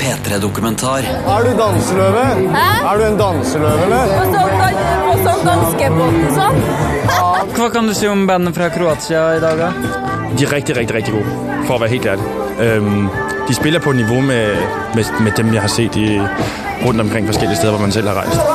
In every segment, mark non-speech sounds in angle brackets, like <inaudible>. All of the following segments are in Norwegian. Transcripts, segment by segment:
P3-dokumentar. Er du danseløve? Hæ? Er du en danseløve, eller? Og sånn dan og sånn danskebåten sånn. Hva kan du si om bandet fra Kroatia i dag, da? De er rigtig, rigtig, rigtig gode, for at være helt ærlig. Øhm, de spiller på niveau med, med, med dem, jeg har set i, rundt omkring forskellige steder, hvor man selv har rejst.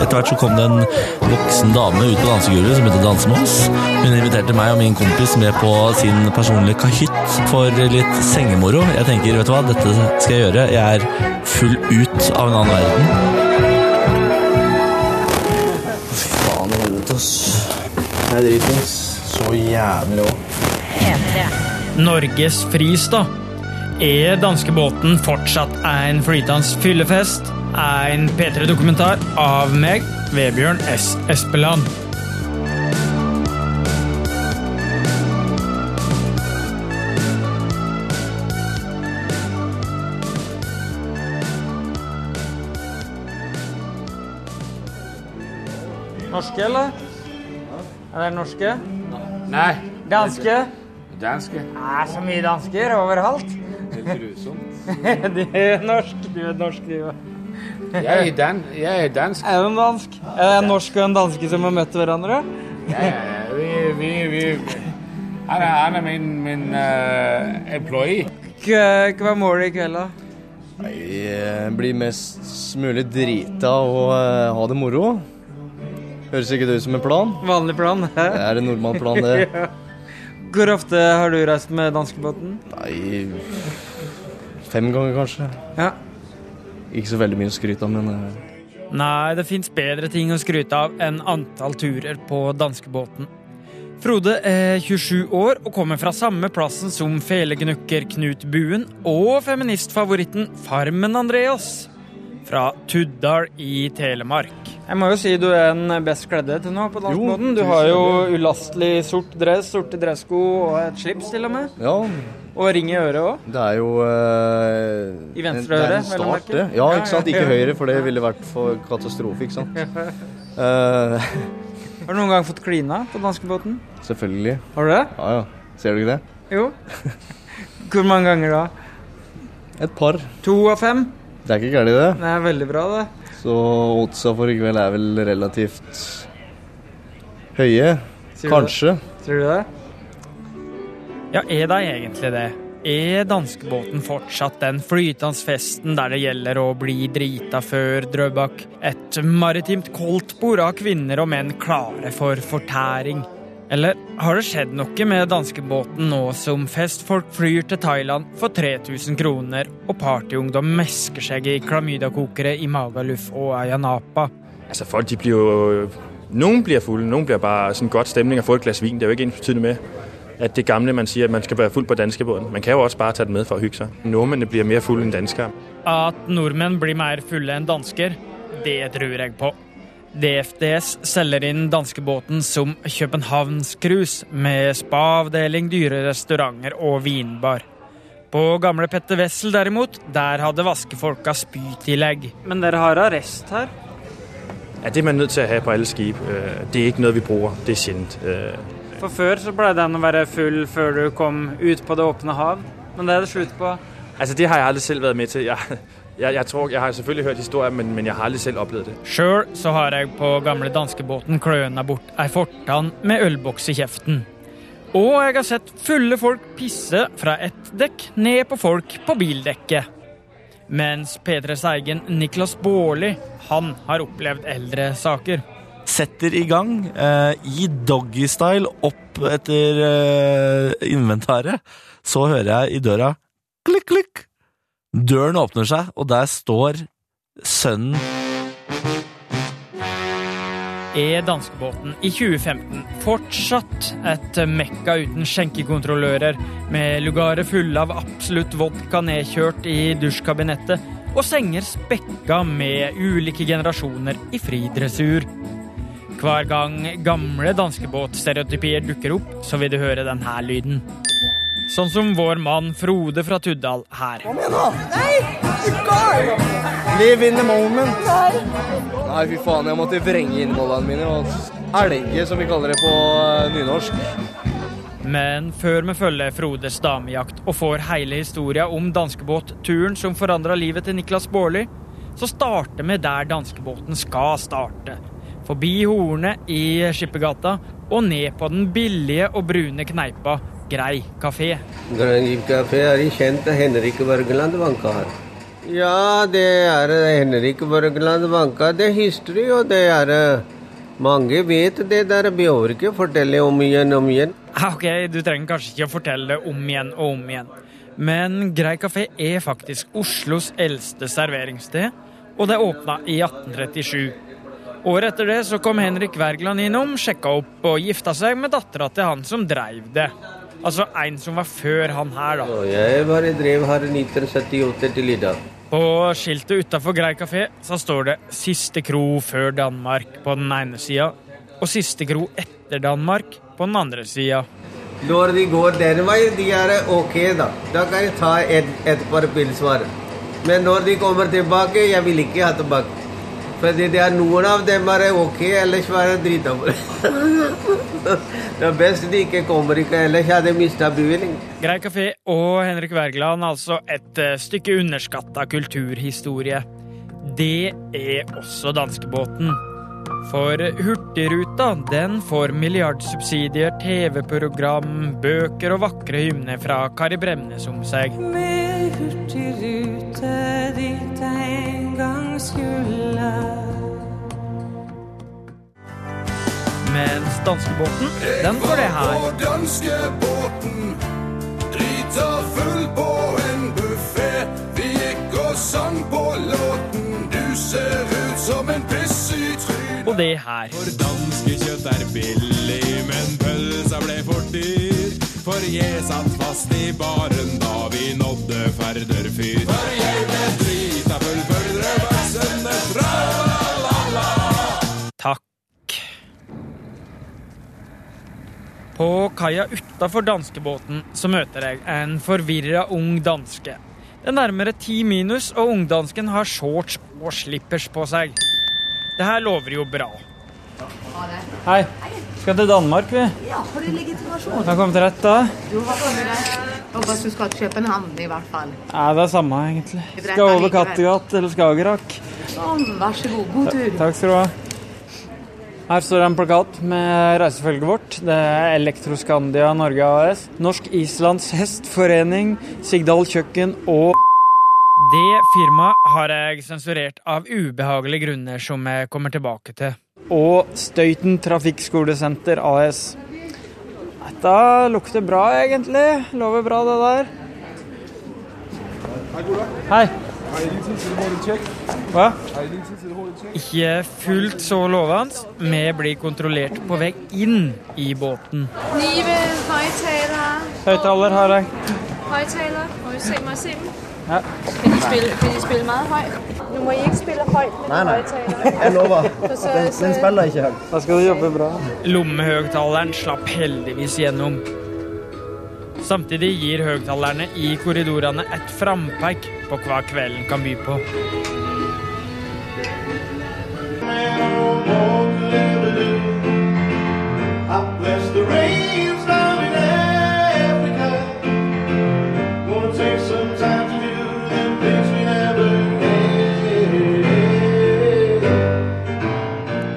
Etter hvert så kom det en voksen dame ut på dansegulvet som begynte å danse med oss. Hun inviterte meg og min kompis med på sin personlige kahytt for litt sengemoro. Jeg tenker, vet du hva, dette skal jeg gjøre. Jeg er full ut av en annen verden. Faen helvete, ass. Jeg er dritings. Så jævlig òg. Norges fris, da. Er danskebåten fortsatt en flytende fyllefest? En P3-dokumentar av meg, Vebjørn S. Espeland. Norske, eller? Er dere norske? Nei, Danske? danske. Det er så mye dansker overalt. <laughs> du er norsk, du er norsk, du òg. Jeg er, dan jeg er dansk. Er du en dansk? Er det en norsk og en danske som har møtt hverandre? Ja, ja, ja. vi, vi, vi. Han er, han er min, min eh, employee. K- Hva er målet i kveld, da? Bli mest mulig drita og eh, ha det moro. Høres ikke det ut som en plan? Vanlig plan? hæ? <laughs> Det er en nordmannplan, <laughs> det. Hvor ofte har du reist med danskebåten? Nei Fem ganger, kanskje. Ja. Ikke så veldig mye å skryte av, men eh, Nei, det fins bedre ting å skryte av enn antall turer på danskebåten. Frode er 27 år og kommer fra samme plassen som felegnukker Knut Buen og feministfavoritten Farmen Andreas fra Tuddal i Telemark. Jeg må jo si du er den best kledde til nå på danskebåten. Du har jo ulastelig sort dress, sorte dressko og et slips til og med. ja. Og ring i øret òg. Det er jo eh, I venstre en- Det er øre, en vel å start, merke. det. Ja, Ja, ja, ikke sant? Ikke ja. høyre, for det ville vært for katastrofe, ikke <laughs> sant? Eh, <laughs> Har du noen gang fått klina på danskebåten? selvfølgelig. Har du det? Ja, ja. Ser du ikke det? Jo. Hvor mange ganger da? Et par. To av fem? Det er ikke gærent, det. Det er veldig bra, det. Så oddsa for i kveld er vel relativt høye. Sier du det? Kanskje. Tror du det? Ja, er det egentlig det? Er danskebåten fortsatt den flytende festen der det gjelder å bli drita før Drøbak? Et maritimt koldtbord av kvinner og menn klare for fortæring? Eller har det skjedd noe med danskebåten nå som festfolk flyr til Thailand for 3000 kroner, og partyungdom mesker seg i klamydakokere i Magaluf og Ayanapa? Altså folk, de bliver jo... Nogen bliver fulde, nogen bliver bare sådan godt stemning og få et glas vin. Det er jo ikke ens betydende med, at det gamle, man siger, at man skal være fuld på danskebåden. Man kan jo også bare tage det med for at hygge sig. Nordmændene bliver mere fulde end danskere. At nordmenn blir mer fulle enn dansker, det tror jeg på. DFDS selger inn danskebåten som Københavnscruise, med spa-avdeling, dyre restauranter og vinbar. På gamle Petter Wessel derimot, der hadde vaskefolka spytillegg. Men dere har arrest her? Ja, det er man nødt til at have på alle skibe. Øh, Det er ikke noget, vi bruger. Det er sjældent. Øh, For før så pleide den å være full før du kom ut på det åpne hav, men det er det slutt på. Altså, det har jeg aldrig selv været med til. Jeg, jeg, jeg tror, jeg har selvfølgelig hørt historier, men, men jeg har aldrig selv oplevet det. Sjøl så har jeg på gamle danskebåten kløna bort ei fortann med ølboks i kjeften. Og jeg har sett fulle folk pisse fra ett dekk ned på folk på bildekket. Mens P3s egen Niklas Baarli, han har opplevd eldre saker. Setter i gang eh, i doggystyle opp etter eh, inventaret. Så hører jeg i døra klikk, klikk. Døren åpner seg, og der står sønnen Er danskebåten i 2015 fortsatt et mekka uten skjenkekontrollører, med lugarer fulle av absolutt vodka nedkjørt i dusjkabinettet, og senger spekka med ulike generasjoner i fri dressur? Hver gang gamle danskebåtstereotypier dukker opp, så vil du høre denne lyden. Sånn som vår mann Frode fra Tuddal her. Live in the moment. Nei, fy faen, jeg måtte vrenge innvollene mine. Og elge, som vi kaller det på eh, nynorsk. Men før vi følger Frodes damejakt og får hele historia om danskebåtturen som forandra livet til Niklas Baarli, så starter vi der danskebåten skal starte. Forbi Hornet i Skippergata og ned på den billige og brune kneipa Grei kafé. Grønngiv kafé er en kjent av Henrik Børgeland Vanka her. Ja, det er Henrik Børgeland Vanka. Det er history, og det er eh, Mange vet det der, behøver ikke fortelle om igjen om igjen. Ah, Ok, du trenger kanskje ikke å fortelle det om igjen og om igjen. Men Grei kafé er faktisk Oslos eldste serveringssted, og det åpna i 1837. Året etter det så kom Henrik Wergeland innom, sjekka opp og gifta seg med dattera til han som dreiv det. Altså en som var før han her, da. Og jeg bare drev her 1978 til i dag. På skiltet utafor Grei kafé så står det 'Siste kro før Danmark' på den ene sida, og 'Siste kro etter Danmark' på den andre sida. Når de går den veien, de er ok, da. Da kan jeg ta et, et par pilsvar. Men når de kommer tilbake, jeg vil ikke ha tilbake. Fordi det er noen av dem er ok, ellers var det dritdobber. <laughs> det er best de ikke kommer, ikke, ellers hadde jeg mista bevilling. Grei kafé og Henrik Wergeland, altså et eh, stykke underskatta kulturhistorie. Det er også danskebåten. For Hurtigruta, den får milliardsubsidier, TV-program, bøker og vakre hymner fra Kari Bremnes om seg. Med hurtigrute dit jeg en gang skulle. Mens danskebåten, den får det her. danskebåten drita full på en buffé. Vi gikk og sang på låten. Du ser ut som en piss i trynet. Og det her. For danskekjøtt er billig, men pølsa ble for dyr. For jeg satt fast i baren da vi nådde Færder fyr. For jeg ble drita full for drømmersene fra Takk. På kaia utafor danskebåten så møter jeg en forvirra ung danske. Det er nærmere ti minus, og ungdansken har shorts og slippers på seg. Det her lover jo bra. Hei. Skal til Danmark, vi. Ja, har du legitimasjon? Har kommet rett, da? Jo, hva kommer det? Håper at du skal til København i hvert fall. Nei, det er samme, egentlig. Skal jeg over Kattegat eller Skagerrak? Sånn, vær så god. God tur. Takk skal du ha. Her står det en plakat med reisefølget vårt. Det er Elektroskandia Norge AS. Norsk Islands Hestforening, Sigdal Kjøkken og Det firmaet har jeg sensurert av ubehagelige grunner som jeg kommer tilbake til. Og Støyten Trafikkskolesenter AS. Dette lukter bra, egentlig. Lover bra, det der. Hei. Hva? Ikke fullt så lovende. Vi blir kontrollert på vei inn i båten. Knive, højtaler, Høyttaler har jeg. højtaler. Må vi se mig se dem? Ja. Kan I spille, kan I spille meget højt? Nu må I ikke spille højt med nej, højtaler. Jeg lover. <laughs> Så, så, Da skal du jobbe bra. Lommehøgtaleren slapp heldigvis gjennom. Samtidig gir høgtalerne i korridorene et frampeik på hva kvelden kan by på.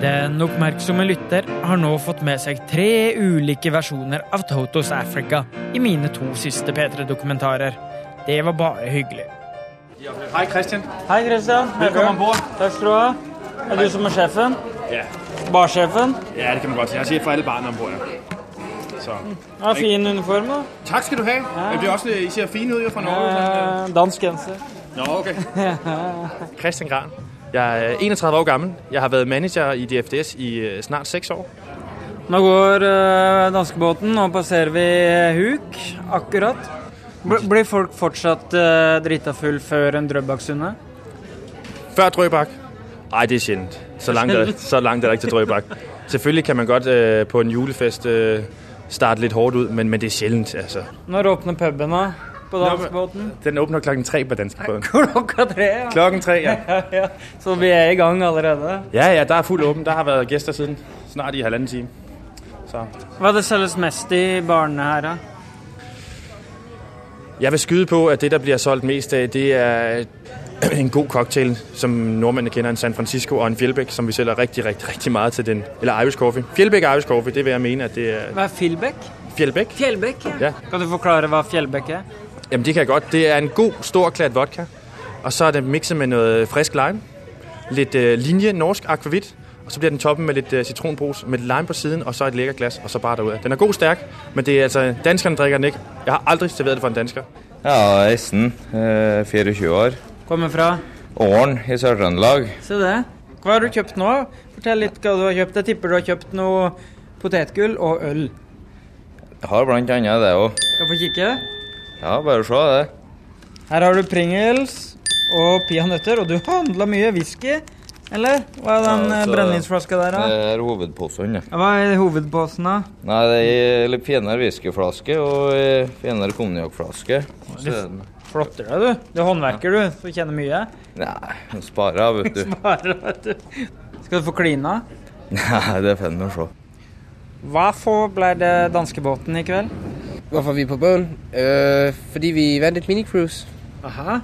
Den oppmerksomme lytter har nå fått med seg tre ulike versjoner av Totos Africa i mine to siste P3-dokumentarer. Det var bare hyggelig. Hei, Christian. Hei, Christian. Velkommen ombord. Takk skal du ha. Er du som er sjefen? Ja. Barsjefen? Ja, det kan man godt sige. Jeg er chef for alle barne ombord. Så. Ja, fin uniform, da. Tak skal du have. Ja. Det er også, øh, I ser fine ud jo fra Norge. Eh, dansk genser. Nå, okay. Christian Gran. Jeg er 31 år gammel. Jeg har været manager i DFDS i øh, snart 6 år. Nå går eh, danskebåten, og passerer vi eh, Huk akkurat. Bl blir folk fortsatt eh, drita full før en Drøbaksundet? Før Drøbak? Nej, det er sjældent. Så langt, er, så langt er der ikke til Drøbak. Selvfølgelig kan man godt øh, på en julefest øh, starte lidt hårdt ud, men, men det er sjældent. Altså. Når åpner puben da? På danskebåten? <laughs> Den åbner klokken 3 på dansk båd. Klokka tre, ja. Klokken 3, ja. <laughs> ja. Så vi er i gang allerede. Ja, ja, der er fuld åben. Der har været gæster siden snart i halvanden time. Så Hva det selges mest i barene her, da? Jeg vil skyde på, at det, der bliver solgt mest af, det er øh, <clears throat> en god cocktail, som nordmændene kender, en San Francisco og en Fjellbæk, som vi sælger rigtig, rigtig, rigtig meget til den. Eller Irish Coffee. Fjellbæk og Irish Coffee, det vil jeg mene, at det er Hva er Fjellbekk? Fjellbæk. Fjellbekk, ja. Ja. Kan du forklare hva Fjellbekk er? Jamen det kan jeg godt. Det er en god, stor klat vodka. Og så er den mixet med noget øh, frisk lime. Lidt øh, linje, norsk akvavit. Og så bliver den toppen med lidt øh, citronbrus, med lidt lime på siden, og så et lækker glas, og så bare derudad. Den er god stærk, men det er altså, danskerne drikker den ikke. Jeg har aldrig serveret det for en dansker. Ja, Esten. eh, 24 år. Kommer fra? Åren i Sør-Trøndelag. Se det. Hva har du kjøpt nå? Fortell litt hva du har kjøpt. Jeg tipper du har kjøpt noe potetgull og øl. Jeg Har blant annet det òg. Skal jeg få kikke? Ja, bare se det. Her har du Pringles og peanøtter, og du handla mye whisky. Eller? Hva er den ja, Ja, så- brennevinsflaska der, Det da? er hovedposen. Ja. Hva er hovedposen, da? Nei, det er litt finere whiskyflaske og eh, finere konjakkflaske. Og så er den- Flotter deg, du. Du er håndverker, du. Du kjenner mye. Nei, den sparer jeg, <laughs> vet du. Bare, vet du. Skal du få klina? Nei, det er fint å se. Hva for ble det danskebåten i kveld? Hvorfor er vi på båden? Øh, fordi vi vandt et minicruise Aha.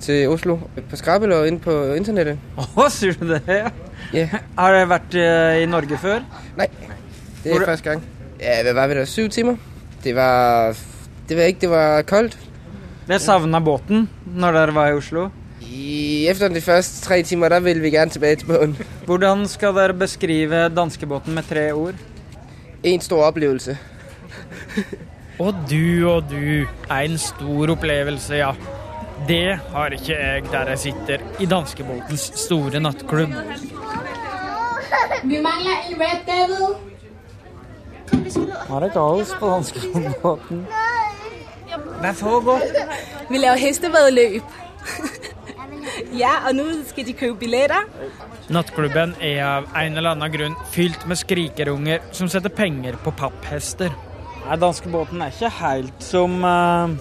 til Oslo på Skrabbel og inde på internettet. Åh, <laughs> sier du det? Ja. Har det vært eh, i Norge før? Nei. Det er Hvor- første gang. Ja, hvad var vi der? Syv timer? Det var... Det var ikke, det var koldt. Jeg savna båten når dere var i Oslo. I, efter de første tre timer, der ville vi gerne tilbage til båden. Hvordan skal dere beskrive danskebåten med tre ord? En stor oplevelse. Og du og du er en stor opplevelse, ja. Det har ikke jeg der jeg sitter i danskebåtens store nattklubb. Vi mangler en Red Devil. Nå er det kaos på danskebåten. Hva foregår? Vi laver hestevedløb. <laughs> ja, og nå skal de købe billetter. Nattklubben er av en eller annen grunn fylt med skrikerunger som setter penger på papphester. Nei, danskebåten er ikke helt som eh,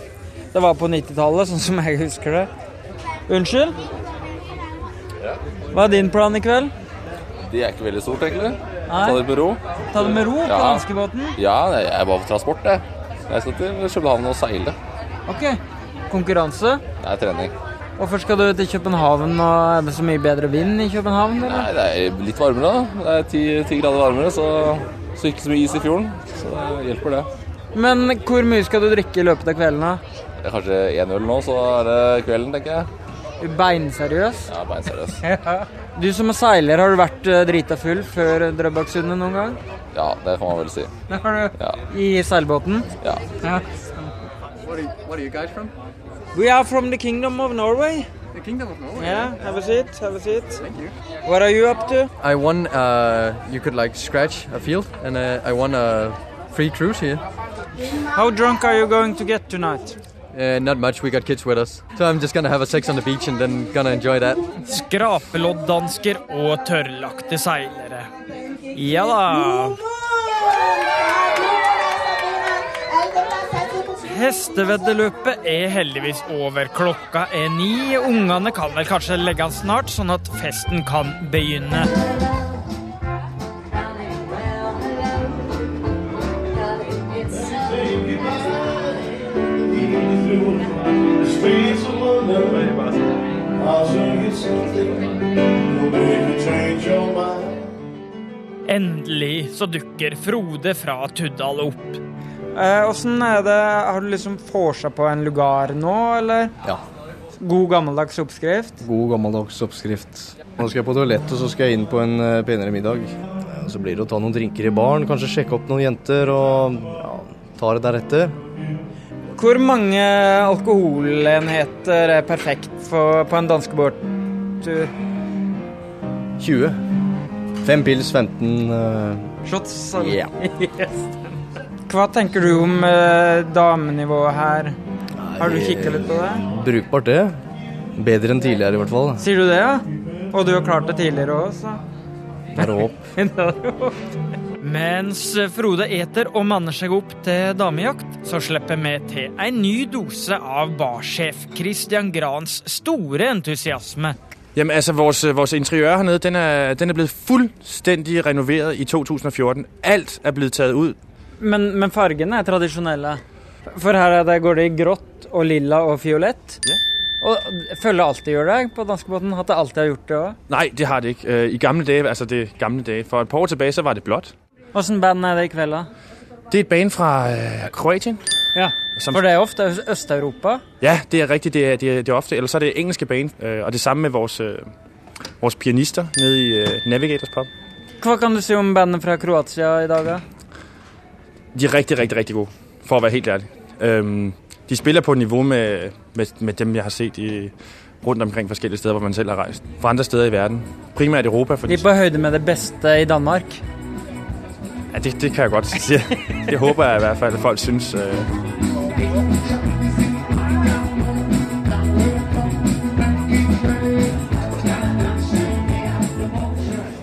det var på 90-tallet, sånn som jeg husker det. Unnskyld? Hva er din plan i kveld? De er ikke veldig stort, egentlig. Nei. Ta det med ro. Ta det med ro på danskebåten? Ja, jeg er bare på transport, jeg. Jeg skal til København og seile. Ok. Konkurranse? Det er trening. Hvorfor skal du til København, og er det så mye bedre vind i København? Eller? Nei, det er litt varmere, da. Det er ti, ti grader varmere, så, så ikke så mye is i fjorden. Så det hjelper, det. Men hvor mye skal du drikke i løpet av kvelden? da? Det er kanskje én Eh, øl nå, så er det kvelden, tenker jeg. Er du Beinseriøs? Ja, beinseriøs. Du som er seiler, har du vært eh, drita full før Drøbaksundet noen gang? Ja, det kan man vel si. Det har du. I seilbåten? Ja. ja. What are, you, what are you guys from? We are from the Kingdom of Norway. The Kingdom of Norway. Yeah, have a seat, have a seat. Thank you. What are you up to? I won. Uh, you could like scratch a field, and uh, I won a free cruise here. How drunk are you going to get tonight? Uh, not much. We got kids with us, so I'm just gonna have a sex on the beach and then gonna enjoy that. Skrapelodddansker og tørrlagte seilere. Ja da. Hesteveddeløpet er heldigvis over. Klokka er ni. Ungene kan vel kanskje legge an snart, sånn at festen kan begynne. Endelig så dukker Frode fra Tuddal opp. Eh, Åssen er det Har du liksom vorsa på en lugar nå, eller? Ja. God gammeldags oppskrift? God gammeldags oppskrift. Nå skal jeg på toalettet, så skal jeg inn på en eh, penere middag. Eh, Så blir det å ta noen drinker i baren, kanskje sjekke opp noen jenter og ja, ta det deretter. Hvor mange alkoholenheter er perfekt for, på en danskebåttur? 20. Fem pils, 15 eh, Shots? Ja. <laughs> Yes. Hva tenker du om eh, damenivået her? Har du kikka litt på det? Brukbart, det. Bedre enn tidligere, i hvert fall. Sier du det, ja? Og du har klart det tidligere òg, så. Det er <laughs> håp. Mens Frode eter og manner seg opp til damejakt, så slipper vi til en ny dose av barsjef Christian Grans store entusiasme. Jamen altså, vores, øh, vores interiør hernede, den er, den er blevet fuldstændig renoveret i 2014. Alt er blevet taget ud. Men, men fargene er tradisjonelle. For her er det, går det i grått og lilla og fiolett. Og jeg føler alltid gjør det på danskebåten. At det alltid har gjort det òg. Nej, det har det ikke. Øh, I gamle dage, altså det gamle dage, for et par år tilbage, så var det blåt. Åssen band er det i kveld, da? Det er et band fra øh, Kroatien. Ja, Som- For det er ofte Øst- Øst-Europa. Ja, det er rigtigt. Det er, det er, det er ofte, eller så er det engelske band, øh, og det samme med vores, øh, vores pianister nede i øh, Navigators Pub. Hva kan du si om bandet fra Kroatia i dag, da? De er rigtig, rigtig, rigtig gode, for at være helt ærlig. Øhm, de spiller på niveau med, med, med dem, jeg har set i, rundt omkring forskellige steder, hvor man selv har rejst. Fra andre steder i verden. Primært Europa, De fordi er på høyde med det beste i Danmark. ja, det, det kan jeg <laughs> godt sige. Det håber jeg i hvert fald, at folk synes. Øh,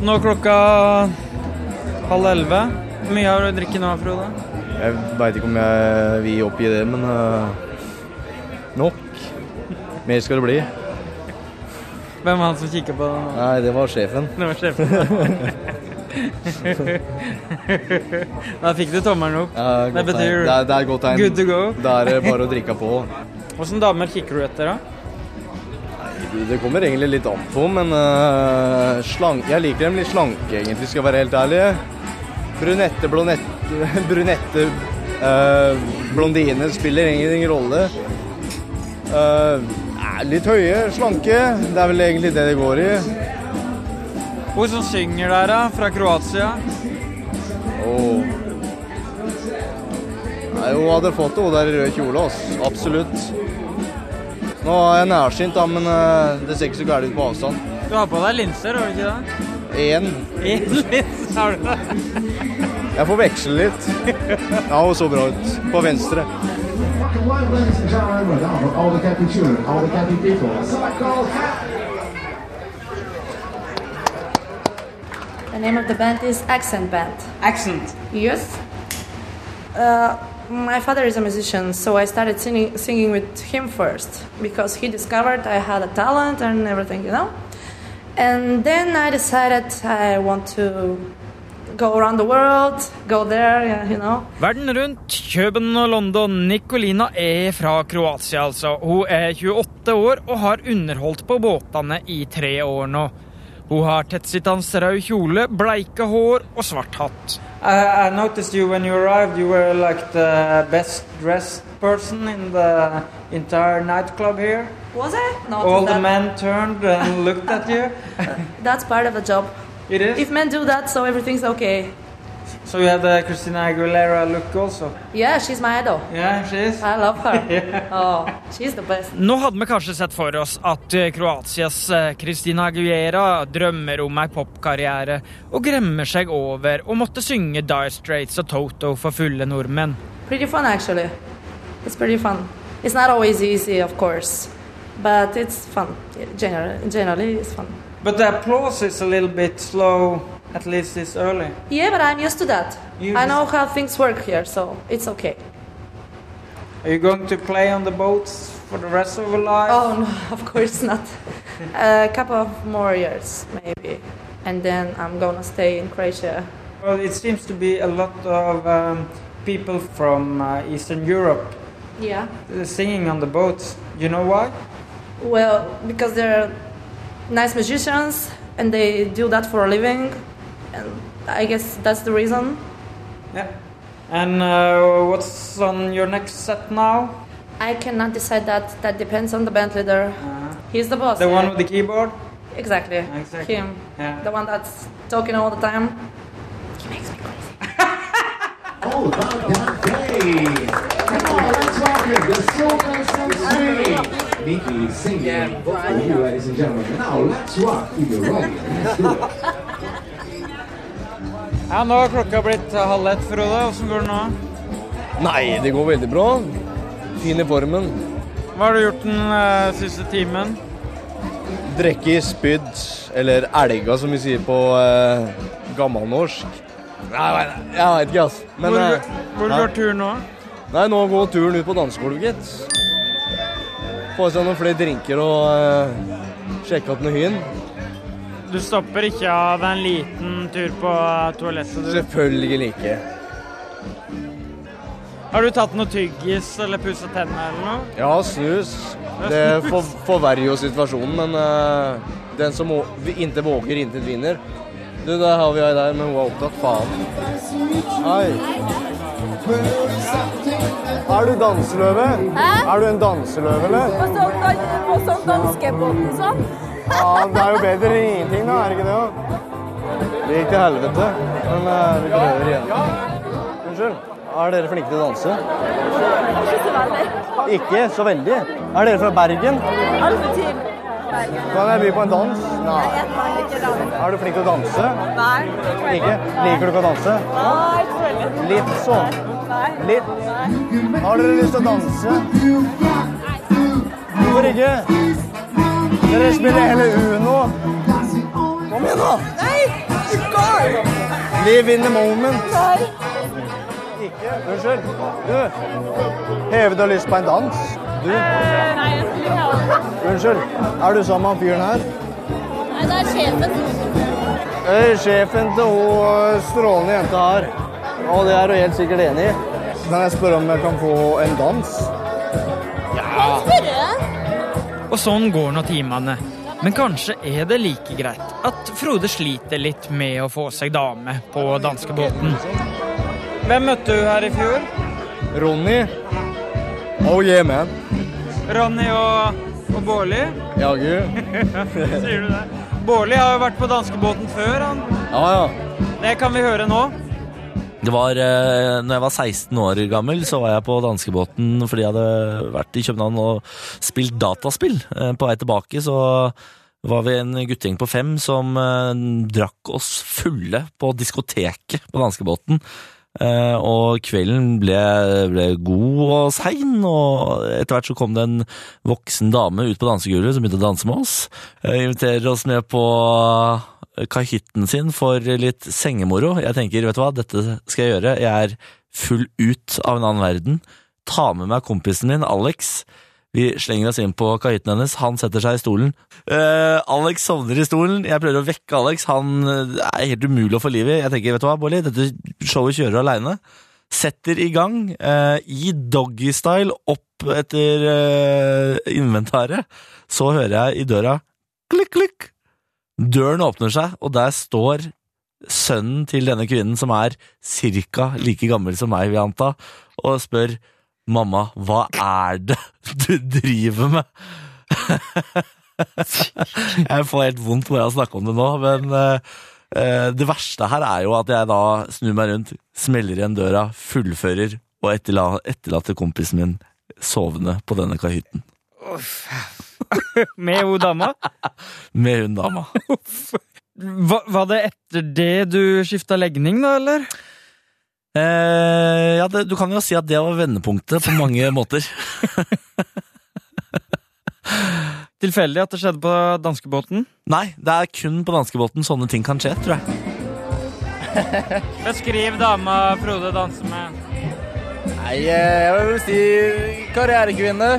Nå er klokka halv elleve. Hvor mye har du drukket nå, Frode? Jeg veit ikke om jeg vil oppgi det, men øh, nok. Mer skal det bli. Hvem er han som kikker på deg nå? Nei, det var sjefen. Det var sjefen. <laughs> da fikk du tommelen opp. Ja, det godt betyr tegn. Det er- det er et godt tegn. good to go. Da er det bare å drikke på. Åssen damer kikker du etter, da? Det kommer egentlig litt an på, men øh, slank, jeg liker dem litt slanke, egentlig, skal jeg være helt ærlig. Brunette, blonette, <laughs> brunette øh, blondine spiller egentlig ingen rolle. Øh, er litt høye, slanke. Det er vel egentlig det det går i. Hun som synger der, da? Fra Kroatia? Åh. Nei, hun hadde fått det, hun der i rød kjole, ass. Absolutt. Nå er jeg nærsynt, da, men øh, det ser ikke så gærent ut på avstand. Du har på deg linser, har du ikke det? Én. Én lins har du det. Jeg får veksle litt. Ja, hun så bra ut. På venstre. The name of the band is Accent Band. Accent? Yes. Uh, my father is a musician, so I started singing, singing with him first because he discovered I had a talent and everything, you know? And then I decided I want to go around the world, go there, yeah, you know? Verden rundt, Køben og London. Nicolina er fra Kroatia, altså. Hun er 28 år og har underholdt på båtene i tre år nå. Hun har tettsittende rød kjole, bleike hår og svart hatt. I, I noticed you when you arrived. You were like the best dressed person in the entire nightclub here. Was I? Not Oh. All that. the men turned and <laughs> looked at you. That's part of the job. It is. If men do that, so everything's okay. So you had the Christina Aguilera look also. Yeah, she's my idol. Yeah, she is. I love her. Oh, she's the best. Nå hadde vi kanskje sett for oss at eh, Kroatias eh, Christina Aguilera drømmer om ei popkarriere og gremmer seg over å måtte synge Dire Straits og Toto for fulle nordmenn. pretty fun actually it's pretty fun it's not always easy of course but it's fun generally, generally it's fun But the applause is a little bit slow, at least this early. yeah but i'm used to that You i just- know how things work here so it's okay Are you going to play on the boats for the rest of your life? oh no <laughs> of course not Uh, a couple of more years maybe and then i'm gonna stay in croatia Well, it seems to be a lot of um, people from uh, Eastern Europe yeah uh, singing on the boats. You know why? well because they're nice musicians and they do that for a living and i guess that's the reason Yeah. And uh, what's on your next set now? I cannot decide that. That depends on the band leader. He's the boss. Uh-huh. The one with the keyboard? Exactly. Exactly. Him. Yeah. The one that's talking all the time. He makes me crazy. Nikki singing for you, ladies and gentlemen. Now let's rock to the right. Let's do it. Ja, nå har klokka blitt eh, halv ett, Frode. Åssen går det nå? Nei, det går veldig bra. Fin i formen. Hva har du gjort den eh, siste timen? Drekke i spydd, eller elga som vi sier på eh, gammelnorsk. Nei, nei, nei, jeg veit ikke, ass. Men, Hvor- eh, hvor nei. går turen nå? Nei, nå går turen ut på dansegulvet, gitt. Få seg noen flere drinker og eh, sjekke opp noe hyen. Du stopper ikke av en liten tur på eh, toalettet, du? Selvfølgelig ikke. Har du tatt noe tyggis eller pusset tennene eller noe? Ja, snus. Det for, forverrer jo situasjonen, men eh, den som å- intet våger, intet vinner. Du, der har vi ei der, men hun er opptatt. Faen. Er du danseløve? Hæ? Er du en danseløve, På sånn, dan- på sånn danskebåten sånn. Ja, det er jo bedre enn ingenting, da. Er det ikke det? da? Det gikk til helvete, men eh, vi prøver igjen. Unnskyld. Er dere flinke til å danse? Ikke så veldig. Ikke så veldig. Er dere fra Bergen? Altfor tidlig. Kan jeg by på en dans? Nei. Jeg kan ikke danse. Er du flink til å danse? Nei. Ikke? Liker du ikke å danse? Nei, ikke så veldig. Litt sånn. Nei. Litt. Har dere lyst til å danse? Hvorfor ikke? Dere spiller heller Uno. Kom igjen, da! Nei, du går! Live in the moment. Nei. Unnskyld. Du, hever du lyst på en dans? Du, Eh, Nei, jeg skulle ikke ha det. unnskyld. Er du sammen med han fyren her? Nei, det er sjefen. Eh, Sjefen til hun eh, strålende jenta her. Og det er hun helt sikkert enig i. Kan jeg spørre om jeg kan få en dans? Ja. Og sånn går nå timene. Men kanskje er det like greit at Frode sliter litt med å få seg dame på danskebåten. Hvem møtte du her i fjor? Ronny. Oh yeah, man. Ronny og, og Bårli? Ja, gud. <laughs> Sier du det? Bårli har jo vært på danskebåten før, han. Ja, ja. Det kan vi høre nå. Det var, eh, når jeg var 16 år gammel, så var jeg på danskebåten fordi jeg hadde vært i København og spilt dataspill. Eh, På vei tilbake så var vi en guttegjeng på fem som eh, drakk oss fulle på diskoteket på danskebåten. Eh, og kvelden ble, ble god og sein, og etter hvert så kom det en voksen dame ut på dansegulvet som begynte å danse med oss. Eh, inviterer oss med på kahytten sin for litt sengemoro. Jeg tenker, vet du hva, dette skal jeg gjøre. Jeg er full ut av en annen verden. Ta med meg kompisen min, Alex. Vi slenger oss inn på kahytten hennes, han setter seg i stolen. Eh, Alex sovner i stolen, jeg prøver å vekke Alex, han eh, er helt umulig å få liv i. Jeg tenker, vet du hva, Bolli, dette showet kjører aleine. Setter i gang, eh, i doggystyle, opp etter eh, inventaret. Så hører jeg i døra klikk, klikk. Døren åpner seg, og der står sønnen til denne kvinnen, som er cirka like gammel som meg, vil jeg anta, og spør mamma, hva er det <laughs> du driver med? <laughs> jeg får helt vondt når jeg snakker om det nå, men eh, eh, det verste her er jo at jeg da snur meg rundt, smeller igjen døra, fullfører og etterla etterlater kompisen min sovende på denne kahytten Med hun dama? med hun dama. Va, var det etter det du skifta legning, da, eller? Eh, ja, det, du kan jo si at det var vendepunktet på mange måter. Tilfeldig at det skjedde på danskebåten? Nei, det er kun på danskebåten sånne ting kan skje, tror jeg. Beskriv dama Frode danser med. Nei, eh, jeg vil si karrierekvinne.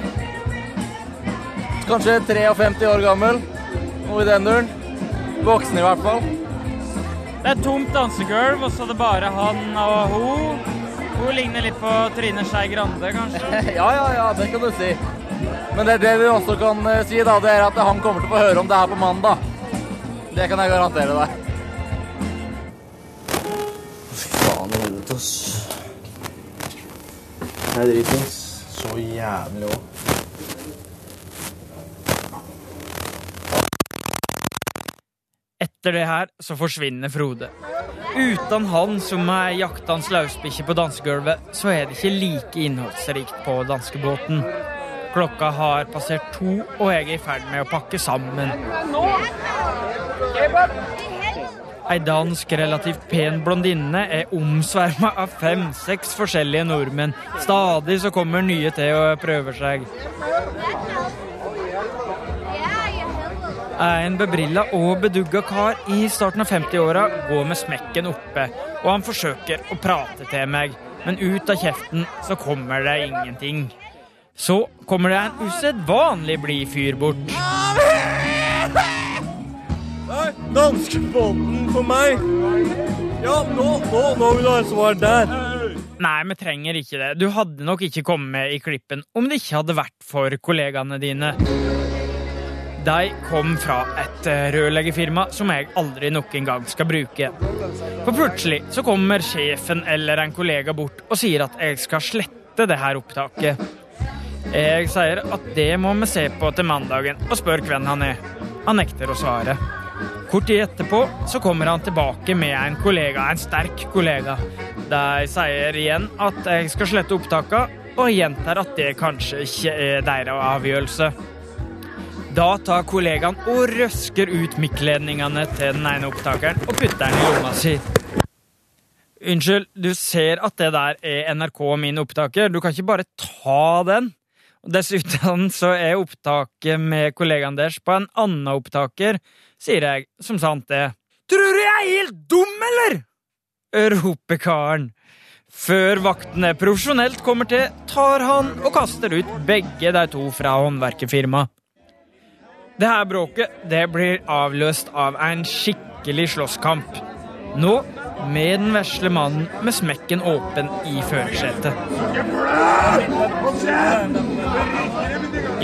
Kanskje 53 år gammel. Noe i den duren. Voksen i hvert fall. Det er tomt dansegulv, og så er det bare han og hun. Hun ligner litt på Trine Skei Grande, kanskje? <laughs> Ja, ja, ja, det kan du si. Men det, det vi også kan eh, si, da, det er at han kommer til å få høre om det her på mandag. Det kan jeg garantere deg. Faen i helvete, ass. Jeg er dritings. Så jævlig òg. Etter det her så forsvinner Frode. Uten han som er jaktans løsbikkje på dansegulvet, så er det ikke like innholdsrikt på danskebåten. Klokka har passert to, og jeg er i ferd med å pakke sammen. Ei dansk relativt pen blondinne er omsverma av fem-seks forskjellige nordmenn. Stadig så kommer nye til og prøver seg. er en bebrilla og bedugga kar i starten av 50-åra går med smekken oppe, og han forsøker å prate til meg, men ut av kjeften så kommer det ingenting. Så kommer det en usedvanlig blid fyr bort. Danskebåten for meg! Ja, nå, nå, nå vil du ha et svar der. Nei, vi trenger ikke det. Du hadde nok ikke kommet med i klippen om det ikke hadde vært for kollegaene dine. De kom fra et eh, rørleggerfirma som jeg aldri nok en gang skal bruke. For plutselig så kommer sjefen eller en kollega bort og sier at jeg skal slette det her opptaket. Jeg sier at det må vi se på til mandagen, og spør hvem han er. Han nekter å svare. Kort tid etterpå så kommer han tilbake med en kollega, en sterk kollega. De sier igjen at jeg skal slette opptakene, og gjentar at det kanskje ikke er deres avgjørelse. Da tar kollegaen og røsker ut mikkledningene til den ene opptakeren og putter den i lomma si. Unnskyld, du ser at det der er NRK min opptaker. Du kan ikke bare ta den. Og Dessuten så er opptaket med kollegaen deres på en annen opptaker, sier jeg, som sant det. Tror du jeg er helt dum, eller? roper karen. Før vaktene profesjonelt kommer til, tar han og kaster ut begge de to fra håndverkerfirmaet. Det her bråket det blir avløst av en skikkelig slåsskamp. Nå med den vesle mannen med smekken åpen i førersetet.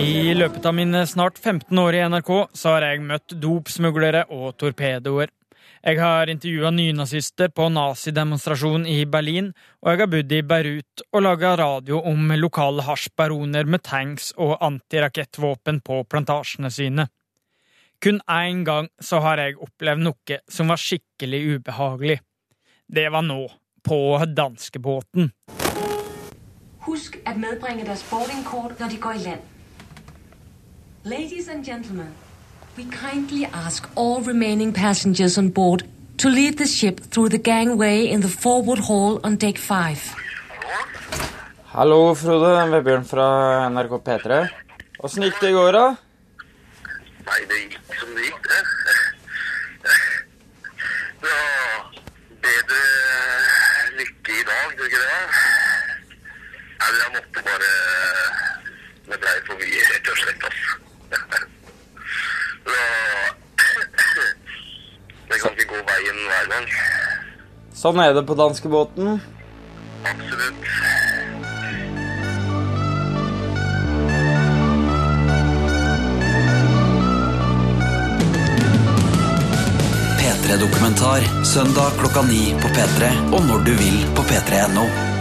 I løpet av mine snart 15 år i NRK så har jeg møtt dopsmuglere og torpedoer. Jeg har intervjua nynazister på nazidemonstrasjon i Berlin, og jeg har bodd i Beirut og laga radio om lokale hasjbaroner med tanks og antirakettvåpen på plantasjene sine. Kun én gang så har jeg opplevd noe som var skikkelig ubehagelig. Det var nå, på danskebåten. Husk at medbringe deres boardingkort, når de går i land. Ladies and gentlemen, we kindly ask all remaining passengers on board to lead the ship through the gangway in the forward hall on deck 5. Hallo, Frode. Vebjørn fra NRK P3. Åssen gikk det i går, da? Nei, det gikk som det gikk, det. Det var bedre lykke i dag, tror du ikke det? Nei, jeg måtte bare Det ble for mye, rett og slett, ass. Det var- Det kan ikke gå veien hver gang. Sånn er det på danskebåten. Absolutt. P3-dokumentar søndag klokka ni på P3 og når du vil på p3.no.